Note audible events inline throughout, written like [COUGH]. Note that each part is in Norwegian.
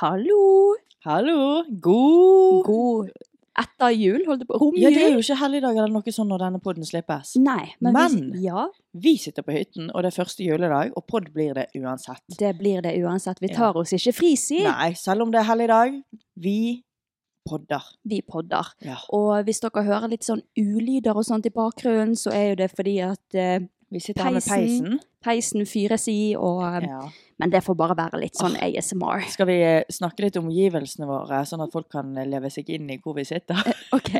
Hallo! Hallo! God God Etter jul, holdt jeg på Romjul! Ja, det er jo ikke helligdag eller noe sånn når denne podden slippes. Nei, men, Men- Vi, ja, Vi sitter på hytten, og det er første juledag, og podd blir det uansett. det blir det uansett. Vi tar oss ikke fri, si! Nei, selv om det er helligdag, vi podder. Vi podder. Ja. Og hvis dere hører litt sånn ulyder og sånt i bakgrunnen, så er jo det fordi at eh, Vi sitter her med Peisen. peisen. peisen fyres i, og eh, Ja. Men det får bare være litt sånn [LAUGHS] ASMR. Skal vi eh, snakke litt om omgivelsene våre, sånn at folk kan eh, leve seg inn i hvor vi sitter? OK.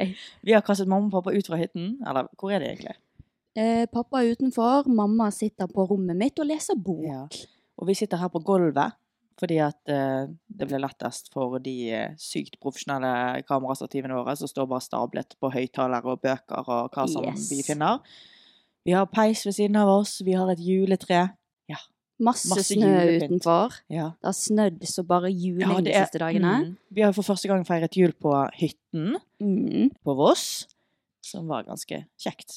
Vi har kastet mamma og pappa ut fra hytten. Eller, hvor er de egentlig? Eh, pappa er utenfor, mamma sitter på rommet mitt og leser bok. Ja. Og vi sitter her på gulvet, fordi at eh, det ble lettest for de eh, sykt profesjonelle kamerastativene våre, som står bare stablet på høyttalere og bøker og hva som Yes. vi finner. Vi har peis ved siden av oss, vi har et juletre. Masse, Masse snø julepynt. utenfor. Ja. Det har snødd så bare juling de siste dagene. Mm. Vi har jo for første gang feiret jul på hytten Mm. på Voss, som var ganske kjekt.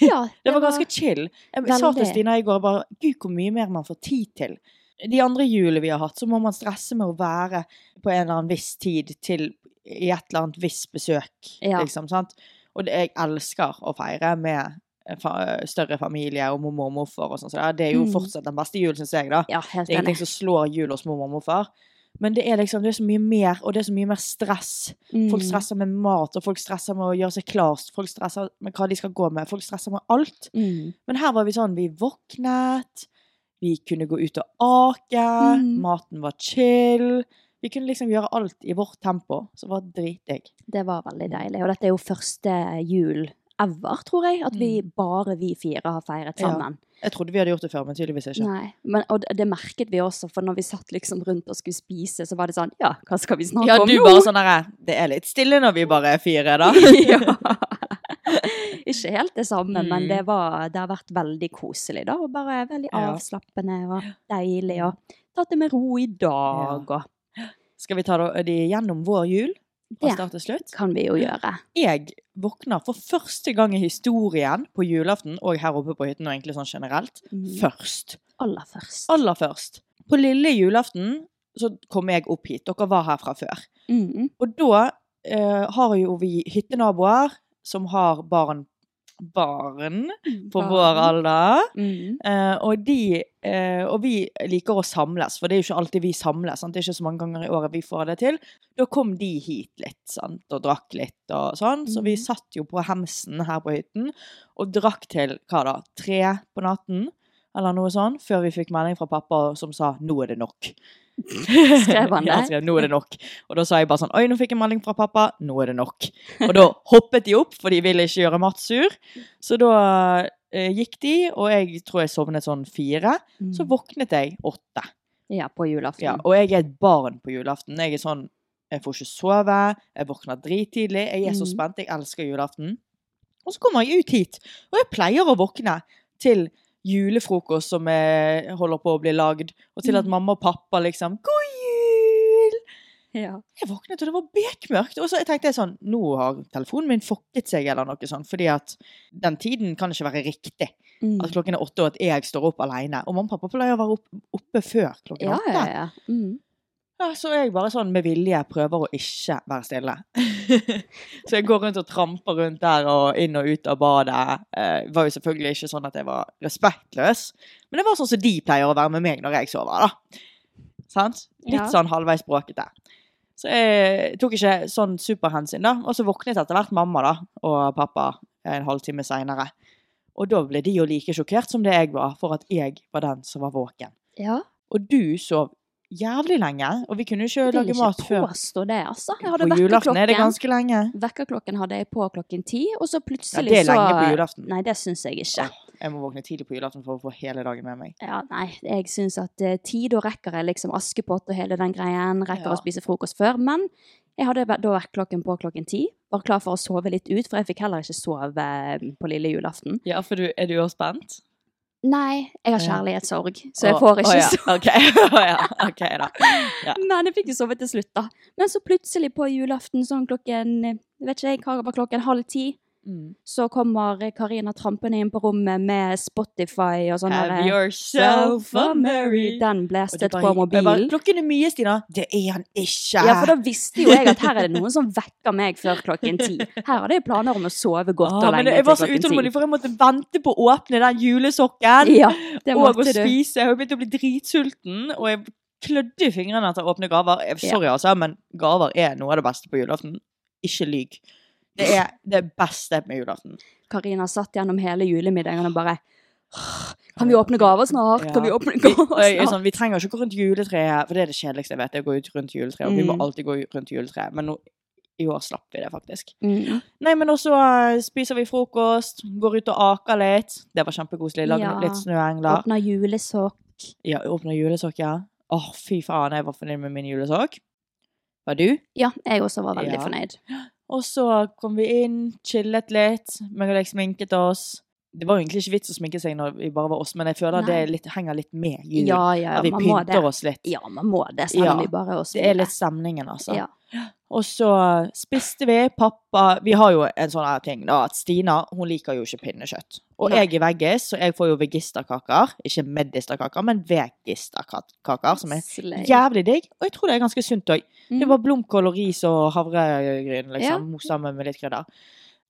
Ja, [LAUGHS] Det var ganske chill. Jeg sa til veldig. Stina i går bare Gud, hvor mye mer man får tid til. De andre julene vi har hatt, så må man stresse med å være på en eller annen viss tid til i et eller annet visst besøk, Ja. liksom. Sant? Og det, jeg elsker å feire med eh, fa større familie og mormor og morfar og sånn. Så det er- det er jo Mm. fortsatt den beste julen, syns jeg, da. Ja, helt Det er enig. ingenting som slår jul hos mormor og morfar. Men det er liksom, det er så mye mer, og det er så mye mer stress. Folk Mm. stresser med mat, og folk stresser med å gjøre seg klar, folk stresser med hva de skal gå med, folk stresser med alt. Mm. Men her var vi sånn, vi våknet, vi kunne gå ut og ake, Mm. maten var chill. Vi kunne liksom gjøre alt i vårt tempo, så det var dritdigg. Det var veldig Mm. deilig. Og dette er jo første jul ever, tror jeg, at vi bare vi fire har feiret Mm. Ja. sammen. Jeg trodde vi hadde gjort det før, men tydeligvis ikke. Nei, men, og det- det merket vi også, for når vi satt liksom rundt og skulle spise, så var det sånn, ja, hva skal vi snakke Ja, om du nå? bare sånn der, det er litt stille når vi bare er fire da. [LAUGHS] ja. Ikke helt det samme, men Mm. det, var, det har vært veldig koselig, da. Og bare veldig Ja. Mm. avslappende og deilig. Og tatt det med ro i dag, og Skal vi ta da- de gjennom vår jul, fra Det. start til slutt? kan vi jo gjøre. jeg våkner for første gang i historien på julaften, og her oppe på hytten, og egentlig sånn generelt, Mm. først. Aller først. Aller først. På lille julaften så kom jeg opp hit. Dere var her fra før. Mm. Og da eh, har jo vi hyttenaboer som har barn Barn Barn. på vår alder. Mm. Eh, og, de, eh, og vi liker å samles, for det er jo ikke alltid vi samles. Sant? Det er ikke så mange ganger i året vi får det til. Da kom de hit litt sant? og drakk litt og sånn. Så vi Mhm. satt jo på hemsen her på hytten og drakk til hva da, tre på natten eller noe sånn, før vi fikk melding fra pappa som sa 'nå er det nok'. Skrev han [LAUGHS] Ja, det? skrev 'nå er det nok'. Og da sa jeg bare sånn 'oi, nå fikk jeg melding fra pappa, nå er det nok'. Og da hoppet de opp, for de ville ikke gjøre Mats sur. Så da eh, gikk de, og jeg tror jeg sovnet sånn fire. Så Mm. våknet jeg åtte. Ja, på julaften. Ja, og jeg er et barn på julaften. Jeg er sånn Jeg får ikke sove. Jeg våkner drittidlig. Jeg er så Mhm. spent. Jeg elsker julaften. Og så kommer jeg ut hit, og jeg pleier å våkne til julefrokost som eh, holder på å bli lagd, og til at Mhm. mamma og pappa liksom 'God jul!' Ja. Jeg våknet, og det var bekmørkt. Og så jeg tenkte jeg sånn Nå har telefonen min fokket seg, eller noe sånt. Fordi at den tiden kan ikke være riktig. Mm. At klokken er åtte, og at jeg står opp alene. Og mamma og pappa pleier å være opp, oppe før klokken Ja, åtte. ja, ja. Mm. Ja, så jeg bare sånn med vilje prøver å ikke være stille. [LAUGHS] så jeg går rundt og tramper rundt der og inn og ut av badet. Eh, var jo selvfølgelig ikke sånn at jeg var respektløs, men det var sånn som de pleier å være med meg når jeg sover, da. Sant? Litt Ja. sånn halvveis bråkete. Så jeg tok ikke sånn superhensyn, da. Og så våknet etter hvert mamma da, og pappa en halvtime seinere. Og da ble de jo like sjokkert som det jeg var, for at jeg var den som var våken. ja. Og du sov jævlig lenge, og vi kunne Jeg ikke vil lage mat ikke før. påstå det, altså. Jeg hadde På julaften er det vekkerklokken. ganske lenge. Vekkerklokken hadde jeg på klokken ti, og så Ja, plutselig det er så eh, lenge på julaften. Nei, det syns jeg ikke. Åh, Jeg må våkne tidlig på julaften for å få hele dagen med meg. Ja, nei, jeg syns at eh, ti, da rekker jeg liksom Askepott og hele den greien. Rekker Ja. å spise frokost før. Men jeg hadde vært- da vekkerklokken på klokken ti. Var klar for å sove litt ut, for jeg fikk heller ikke sove eh, på lille julaften. Ja, for er du også spent? Nei, jeg har Ja. kjærlighetssorg, så jeg får ikke [LAUGHS] sove. ja. Ok, [LAUGHS] Å ja. ok da. Ja. Men jeg fikk jo sove til slutt, da. Men så plutselig på julaften sånn klokken eh, vet ikke jeg, hva var klokken halv ti, Mm. så kommer Karina trampende inn på rommet med Spotify og sånn Have der, yourself a merry Den Og blæstet du bare- på jeg bare, mobilen. Klokken er mye, Stina. Det er han ikke. Ja, for da visste jo jeg at her er det noen som vekker meg før klokken ti. Her hadde jeg planer om å sove godt Ah, og men lenge jeg til var så klokken utålmodig, ti. for jeg måtte vente på å åpne den julesokken. Ja, [LAUGHS] det og å måtte du. spise. Jeg har begynt å bli dritsulten, og jeg klødde i fingrene etter åpne gaver. Jeg- Sorry, altså, men gaver er noe av det beste på julaften. Ikke lyg. Det er det beste med julaften. Karina satt gjennom hele julemiddagen og bare «Åh, Kan vi åpne gaver snart? Kan vi Ja. åpne Vi, [LAUGHS] og gaver jeg er snart? sånn, vi trenger ikke gå rundt juletreet, for det er det kjedeligste jeg vet. Jeg går ut rundt juletreet, og vi må Mm. alltid gå rundt juletreet. Men nå, i år slapp vi det, faktisk. Mm. Nei, men også eh, spiser vi frokost, går ut og aker litt. Det var kjempekoselig. Lager Ja. litt snøengler. Åpna julesokk. Ja, åpner julesokker. Åh, fy faen, jeg var fornøyd med min julesokk. Var du? Ja, jeg også var veldig Ja. fornøyd. Og så kom vi inn, chillet litt. Meg og deg sminket oss. Det var jo egentlig ikke vits å sminke seg når vi bare var oss, men jeg føler Nei. det er litt, henger litt med jul. Ja, ja, at vi man må det. pynter oss litt. Ja, man må det, selv Ja, om vi bare er oss Det er fire. litt stemningen, altså. Ja. Og så spiste vi. Pappa Vi har jo en sånn her ting da, at Stina hun liker jo ikke pinnekjøtt. Og Nei. jeg er veggis, så jeg får jo vegisterkaker. Ikke medisterkaker, men vegisterkaker, som er Slay. jævlig digg. Og jeg tror det er ganske sunt òg. Det Mm. var blomkål og ris og havregryn, Ja. liksom, sammen med litt krydder.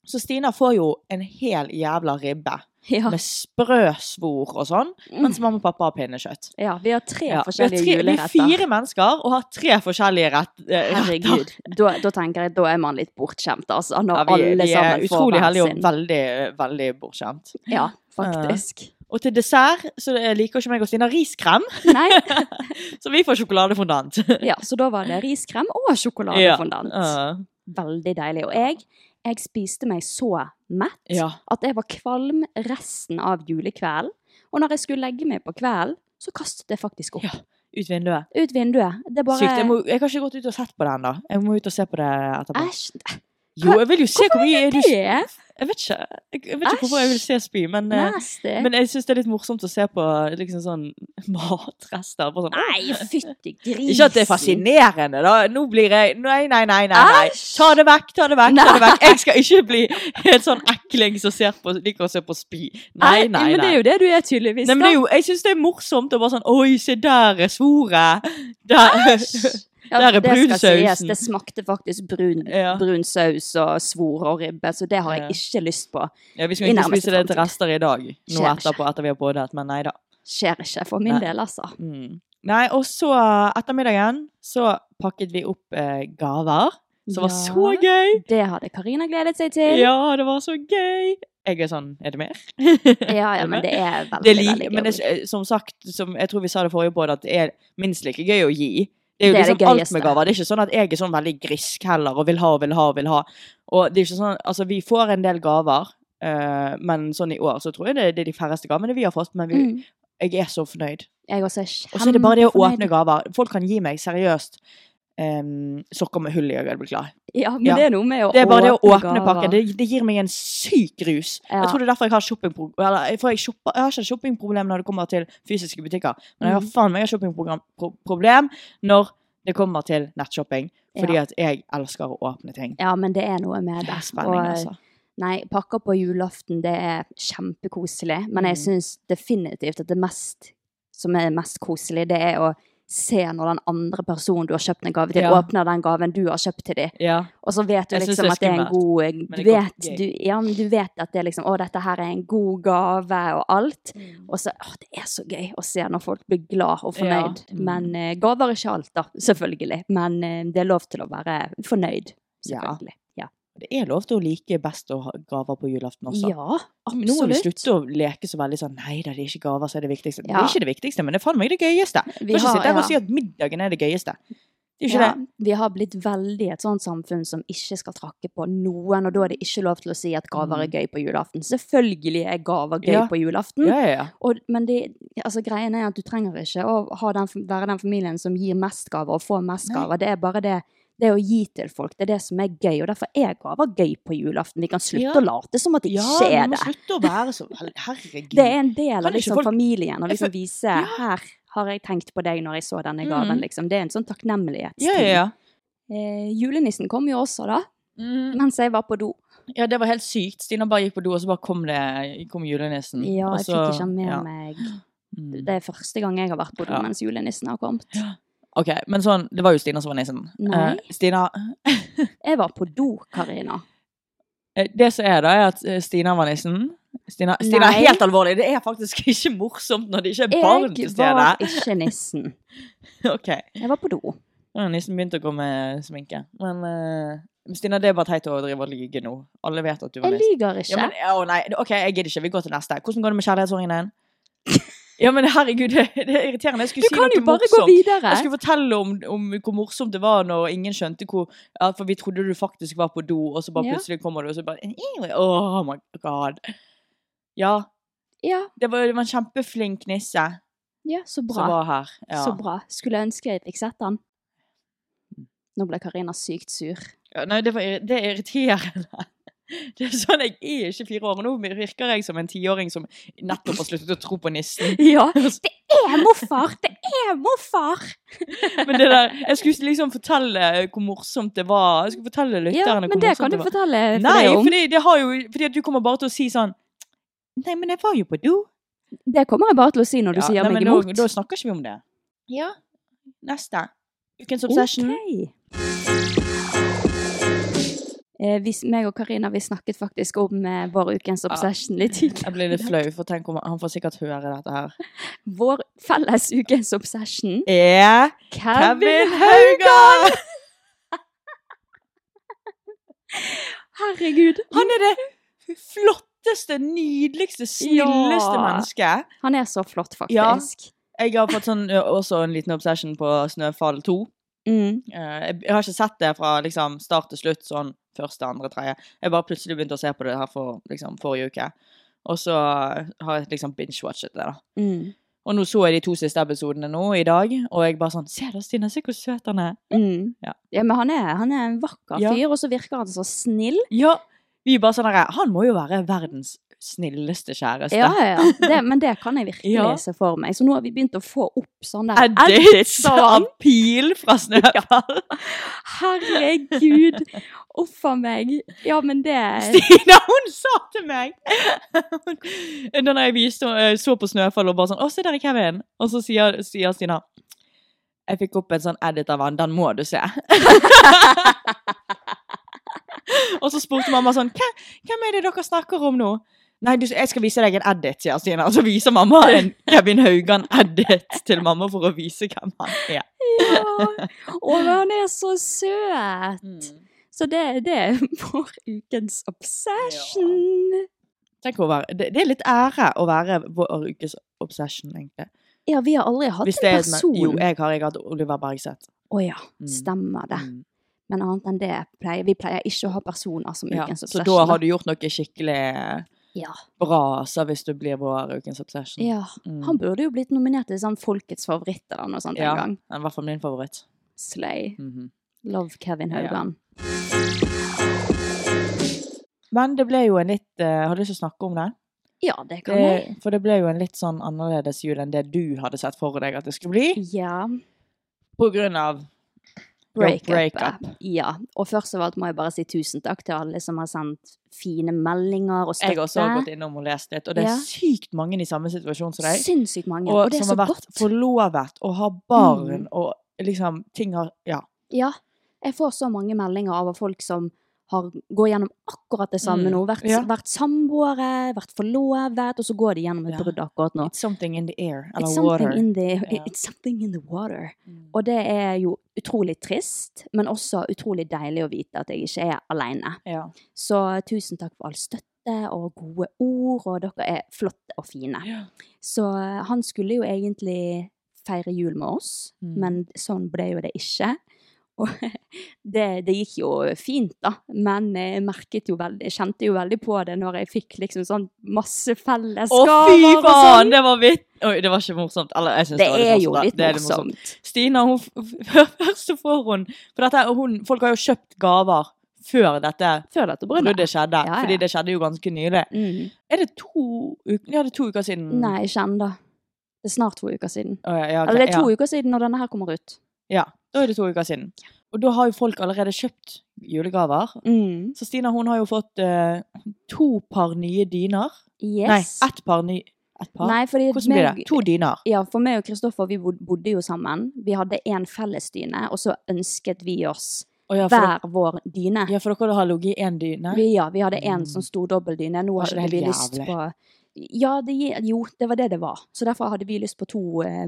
Så Stina får jo en hel jævla ribbe ja. Mm. med sprø svor og sånn, mens mamma og pappa har pinnekjøtt. ja, vi har tre Ja, vi, har forskjellige tre, vi er juleretter. fire mennesker og har tre forskjellige rett, eh, retter. Herregud. [LAUGHS] Da, da tenker jeg da er man litt bortskjemt, altså. Når Ja, vi, alle vi er sammen får utrolig hver heldige og sin. veldig, veldig bortskjemt. Ja, faktisk. Og til dessert så eh, liker ikke meg og Stina riskrem, [LAUGHS] Nei. så vi får sjokoladefondant. Ja, så da var det riskrem og sjokoladefondant. Ja. Veldig deilig. Og jeg, jeg spiste meg så mett Ja. at jeg var kvalm resten av julekvelden. Og når jeg skulle legge meg på kvelden, så kastet jeg faktisk opp. Ja. Ut vinduet. Ut vinduet. Det bare Sykt. Jeg, må, jeg har ikke gått ut og sett på den, da. Jeg må ut og se på det etterpå. Æsj. Jo, jeg vil jo se hvor mye er du Det Jeg vet ikke, jeg, jeg vet ikke hvorfor jeg vil se spy, men, eh, nasty. men jeg syns det er litt morsomt å se på liksom sånn [LAUGHS] matrester. På sånn. Nei, fytti grisen. Ikke at det er fascinerende, da. Nå blir jeg Nei, nei, nei. nei, nei. Æsj! Ta det vekk, ta det vekk. ta det Nei. vekk. Jeg skal ikke bli helt sånn ekling som ser på, liker å se på spy. Nei, nei, Men det nei. er jo det du er tydeligvis. Nei, men det er jo, jeg syns det er morsomt å bare sånn Oi, se der er svoret. Der. Ja, Der er det skal brunsausen. sies, Det smakte faktisk brun, Ja. brun saus og svor og ribbe, så det har jeg Ja. ikke lyst på. [LAUGHS] Ja, vi I skal ikke nærmeste spise det til fremtid. rester i dag, nå Skjer etterpå, etter vi har badet, men nei da. Skjer ikke for min Nei. del, altså. Mm. Nei, og så ettermiddagen så pakket vi opp eh, gaver, som var Ja. så gøy. Det hadde Karina gledet seg til. Ja, det var så gøy. Jeg er sånn Er det mer? [LAUGHS] ja, ja, men det er veldig, Det er like, veldig gøy. men det, er- som sagt, som jeg tror vi sa det forrige på, at det er minst like gøy å gi. Det er jo Det er det liksom alt med gøyeste. gaver. Det er ikke sånn at jeg er sånn veldig grisk heller, og vil ha og vil ha og vil ha. Og det er ikke sånn, altså Vi får en del gaver, eh, men sånn i år så tror jeg det, det er de færreste gavene vi har fått. Men vi, Mm. jeg er så fornøyd. Jeg også er kjempefornøyd. Og så er det bare det å åpne gaver. Folk kan gi meg seriøst em, sokker med hull i, og jeg blir glad. Ja, men Ja. det er noe med å Det er bare det å åpne gaver. pakken. Det, det gir meg en syk rus. Ja. Jeg tror det er derfor jeg har shoppingprogram Eller for jeg, shopper, jeg har ikke shoppingproblem når det kommer til fysiske butikker, men jeg har Mm. faen meg shoppingproblem når det kommer til nettshopping. Fordi Ja. at jeg elsker å åpne ting. Ja, men det er noe med det. Det er spenning, Og, altså. Nei, pakker på julaften, det er kjempekoselig. Men Mm. jeg syns definitivt at det mest som er mest koselig, det er å se når den andre personen du har kjøpt en gave til, Ja. åpner den gaven du har kjøpt til dem. Ja. Og så vet du Jeg synes liksom det er at det er en skummelt, god men du det er godt vet, gøy. du, ja, men du vet at det er liksom Å, dette her er en god gave og alt. Og så Å, det er så gøy å se når folk blir glad og Mm. Ja. Mm. fornøyd. Men eh, gaver er ikke alt, da. Selvfølgelig. Men eh, det er lov til å være fornøyd. Ja. Selvfølgelig. Ja. Det er lov til å like best å ha gaver på julaften også. Ja, Men Nå må vi absolutt. slutte å leke så veldig sånn Nei da, det er ikke gaver som er det viktigste. Det Ja. er ikke det viktigste, men det er faen meg det gøyeste. Du Vi kan ikke har- sitte her ja. og si at middagen er det gøyeste. Det er jo ikke Ja, vi har blitt veldig et sånt samfunn som ikke skal trakke på noen, og da er det ikke lov til å si at gaver er gøy på julaften. Selvfølgelig er gaver gøy Mm. Ja. på julaften, det. Ja, ja, ja. og, men det, altså, greien er at du trenger ikke å ha den, være den familien som gir mest gaver og får mest Nei. gaver. Det er bare det, det å gi til folk. Det er det som er gøy, og derfor er gaver gøy på julaften. Vi kan slutte Ja. å late som at det Ja, ikke vi er må det. slutte å være så Herregud. Det er en del av Kan ikke liksom, folk- familien å Jeg liksom, føl- vise Ja. her har jeg tenkt på deg når jeg så denne Mm. gaven. Liksom. Det er en sånn takknemlighetsting. ja, ja, ja. Eh, julenissen kom jo også, da. Mm, Mens jeg var på do. ja, det var helt sykt. Stina bare gikk på do, og så bare kom, det, kom julenissen. Ja, Og jeg så- fikk ikke han med Mm. Altså, ja. meg. Mm. Det er første gang jeg har vært på do Ja. mens julenissen har kommet. Ok, men sånn, det var jo Stina som var nissen. Nei. Eh, Stina, Jeg var på do, Karina. eh, det som er da, er at eh, Stina var nissen. Stina, Stina Nei. er helt alvorlig. Det er faktisk [LAUGHS] ikke morsomt når det ikke er barn til Jeg var stede. ikke nissen. [LAUGHS] Ok, Jeg var på do. Nå har nissen begynte å gå med sminke. Men eh, Stina, det er bare teit å drive og lyge nå. Alle vet at du var Jeg nissen. lyver ikke. Ja, men, å nei, ok, jeg gidder ikke. Vi går til neste. Hvordan går det med [LAUGHS] kjærlighetssorgen din? Ja, men herregud, det, det er irriterende. Jeg Du skulle si kan noe jo bare gå morsomt. videre. Jeg skulle fortelle om, om hvor morsomt det var når ingen skjønte hvor ja, For vi trodde du faktisk var på do, og så bare Ja. plutselig kommer du, og så bare Oh my god. Ja. Ja, Det var, det var en kjempeflink nisse ja, så som bra. var her. Ja. Så bra. Skulle jeg ønske jeg fikk sett den. Mm. Nå ble Karina sykt [LAUGHS] sur. Ja, nei, det, var, irri- det er irriterende. [LAUGHS] Det er sånn, Jeg er ikke fire år, og nå virker jeg som en tiåring som nettopp har sluttet å tro på nissen. [LAUGHS] Ja, det er morfar! Det er morfar! Men det der, jeg skulle liksom fortelle hvor morsomt det var. Jeg skulle fortelle Ja, lytterne hvor men det kan morsomt du det var. fortelle for Nei, deg om. fordi, det har jo, fordi at du kommer bare til å si sånn Nei, men jeg var jo på do. Det kommer jeg bare til å si når du Ja, sier nei, meg men imot. Da, da snakker ikke vi om det. Ja. Neste. Ukens obsession. Ok. Eh, vi, meg og Karina vi snakket faktisk om eh, vår ukens Ah. obsession litt Jeg tidligere. blir litt flau, for tenk om han får sikkert høre dette her. Vår felles ukens obsession Er Kevin Haugan! Herregud! Han er det flotteste, nydeligste, snilleste Ja. mennesket. Han er så flott, Ja. faktisk. Jeg har fått sånn, ø, også en liten obsession på Snøfall 2. Mm. Eh, Jeg jeg har ikke sett det fra liksom, start til slutt, sånn første, andre, tredje. Jeg bare plutselig begynte å se på det her for, liksom, forrige uke. Og så har jeg liksom binge-watchet det, da. Mm. Og nå så jeg de to siste episodene nå i dag, og jeg bare sånn Se da, Stine, se hvor søt han er. Mm. Ja. Ja. men han er, han er en vakker Ja. fyr, og så virker han så snill. Ja. Vi er bare sånn herre Han må jo være verdens snilleste kjæreste. Ja, ja, ja. Det, men det kan jeg virkelig Ja. se for meg. Så nå har vi begynt å få opp sånn der [LAUGHS] Edits edits av han. av pil fra Snøfall. Herregud! Uff a meg. Ja, men det [LAUGHS] Stina, hun sa til meg [LAUGHS] Da jeg viste, eh, så på Snøfall og bare sånn 'Å, se der er Kevin.' Og så sier, sier Stina 'Jeg fikk opp en sånn edit av han. Den må du se.' [LAUGHS] og så spurte mamma sånn «Hva- 'Hvem er det dere snakker om nå?' Nei, du, jeg skal vise deg en edit, sier Stina. Og så viser mamma en Kevin Haugan-edit til mamma for å vise hvem han er. Ja. Å, men han er så søt! Mm. Så det, det er vår ukens obsession. Tenk å være, det, det er litt ære å være vår ukes obsession, egentlig. Ja, vi har aldri hatt Hvis en det er, sånn person. Jo, jeg har jeg har hatt Oliver Bergseth. Å ja, Mm. stemmer det. Mm. Men annet enn det pleier vi pleier ikke å ha personer som Ja, ukens så obsession. da har du gjort noe skikkelig ja. bra altså, hvis du blir vår ukens obsession. ja. Mm. Han burde jo blitt nominert til sånn Folkets favoritt eller noe sånt Ja, en Mhm. gang. den er i hvert fall min favoritt. Slay. Love Kevin Haugan. Men det ble jo en litt eh, Har du lyst til å snakke om det? Ja, det kan jeg. det? For det ble jo en litt sånn annerledes jul enn det du hadde sett for deg at det skulle bli. Ja. På grunn av Breakup. breakup. Ja. Og først av alt må jeg bare si tusen takk til alle som har sendt fine meldinger og støtte. Jeg har også gått innom og lest litt, og det er Ja. sykt mange i samme situasjon som deg. Sinnssykt mange. Og, Og, det er så som har vært godt. forlovet og har barn Mm. og liksom ting har Ja. Ja. Jeg får så mange meldinger av folk som har, går gjennom akkurat det samme Mm, nå. Vært, ja. vært samboere, vært forlovet, og så går de gjennom et Ja. brudd akkurat nå. It's something in the air. Eller It's water. something, in the, Ja. it's something in the water. Og det er jo utrolig trist, men også utrolig deilig å vite at jeg ikke er alene. Ja. Så tusen takk for all støtte og gode ord, og dere er flotte og fine. Ja. Så eh, han skulle jo egentlig feire jul med oss, Mm. men sånn ble jo det ikke. [LAUGHS] Og det, det gikk jo fint, da, men jeg merket jo veldig, jeg kjente jo veldig på det når jeg fikk liksom sånn masse Å, fellesgaver fy og faen! sånn. Det var vitt! Oi, det var ikke morsomt. Eller, jeg synes Det det, var er jo da. litt Det er det morsomt. Stina, hun, [LAUGHS] først så får hun For dette, hun, folk har jo kjøpt gaver før dette Før dette bruddet Ja, skjedde. ja. Fordi det skjedde jo ganske nylig. Mm. Er det to uker Ja, det er to uker siden. Nei, ikke ennå. Det er snart to uker siden. Å, ja, ja, ok, Eller det er to ja. uker siden når denne her kommer ut. Ja, da er det to uker siden. Og da har jo folk allerede kjøpt julegaver. Mm. Så Stina hun har jo fått eh, to par nye dyner. Yes. Nei, ett par ny... Ett par? Nei, fordi Hvordan blir meg- det? To dyner. Ja, for meg og Kristoffer vi bod- bodde jo sammen. Vi hadde én felles dyne, og så ønsket vi oss Å, ja, for, hver vår dyne. ja, for dere har ligget i én dyne. Vi, ja, vi hadde én sånn stor dobbeldyne. Nå Mm. Var ikke hadde det vi helt lyst jævlig? på Ja, det, gi- jo, det var det det var. Så derfor hadde vi lyst på to eh,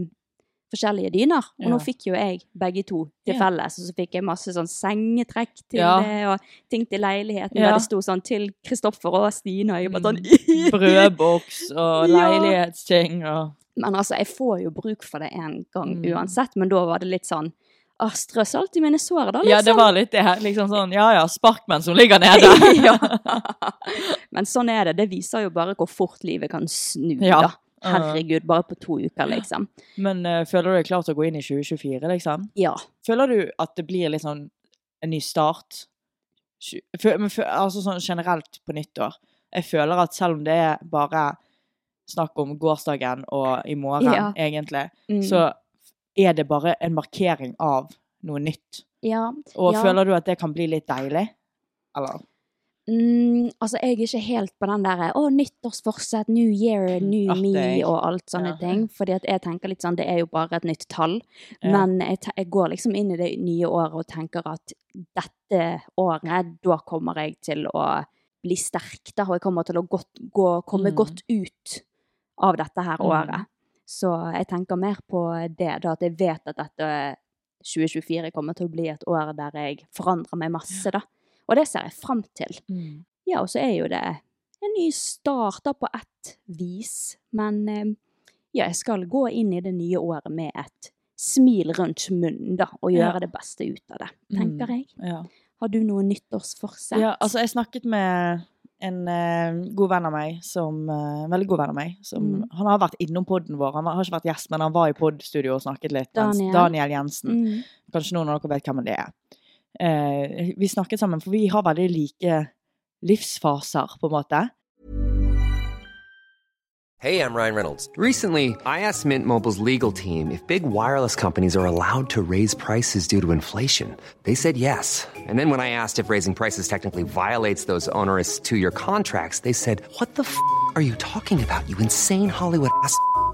forskjellige dyner. Og Ja. nå fikk jo jeg begge to til Ja. felles, og så fikk jeg masse sånn sengetrekk til Ja. det, og ting til leiligheten Ja. Mm. der det sto sånn til Kristoffer og Stine, og jeg bare [LAUGHS] sånn Brødboks [LAUGHS] og Ja. leilighetsting og Men altså, jeg får jo bruk for det en gang Mm. uansett, men da var det litt sånn «Åh, Strø salt i mine sår, da, Ja, det liksom. var litt det. her, Liksom sånn ja ja, sparkmenn som ligger nede. [LAUGHS] [LAUGHS] Men sånn er det. Det viser jo bare hvor fort livet kan snu, Ja. da. Herregud, bare på to uker, liksom. Men eh, føler du deg klar til å gå inn i 2024, liksom? Ja. Føler du at det blir litt sånn en ny start? Tju- fø- men fø- altså sånn generelt på nyttår. Jeg føler at selv om det er bare snakk om gårsdagen og i morgen, Ja. egentlig, Mm. så er det bare en markering av noe nytt. ja. Og Ja. føler du at det kan bli litt deilig? Eller? Mm, altså, jeg er ikke helt på den derre å, nyttårsforsett, new year, new At me jeg- og alt sånne Ja. ting. Fordi at jeg tenker litt sånn, det er jo bare et nytt tall. Ja. Men jeg, te- jeg går liksom inn i det nye året og tenker at dette året, da kommer jeg til å bli sterk, da, og jeg kommer til å godt, gå, komme Mm. godt ut av dette her Mm. året. Så jeg tenker mer på det, da, at jeg vet at dette 2024 kommer til å bli et år der jeg forandrer meg masse, da. Og det ser jeg fram til. Ja, og så er jo det en ny start da på ett vis. Men eh, ja, jeg skal gå inn i det nye året med et smil rundt munnen, da, og Ja. gjøre det beste ut av det, Mm. tenker jeg. Ja. Har du noe nyttårsforsett? Ja, altså jeg snakket med en eh, god venn av meg, som, eh, veldig god venn av meg, som, Mm. han har vært innom podden vår, han var- har ikke vært gjest, men han var i poddstudio og snakket litt. mens- Daniel. Daniel Jensen. Mm. Kanskje noen av dere vet hvem det er. Eh, vi snakket sammen, for vi har veldig like livsfaser, på en måte. Hey, I'm Ryan Reynolds. Recently, I asked Mint Mobile's legal team if big wireless companies are allowed to raise prices due to inflation. They said yes. And then when I asked if raising prices technically violates those onerous two year contracts, they said, What the f are you talking about, you insane Hollywood ass? f-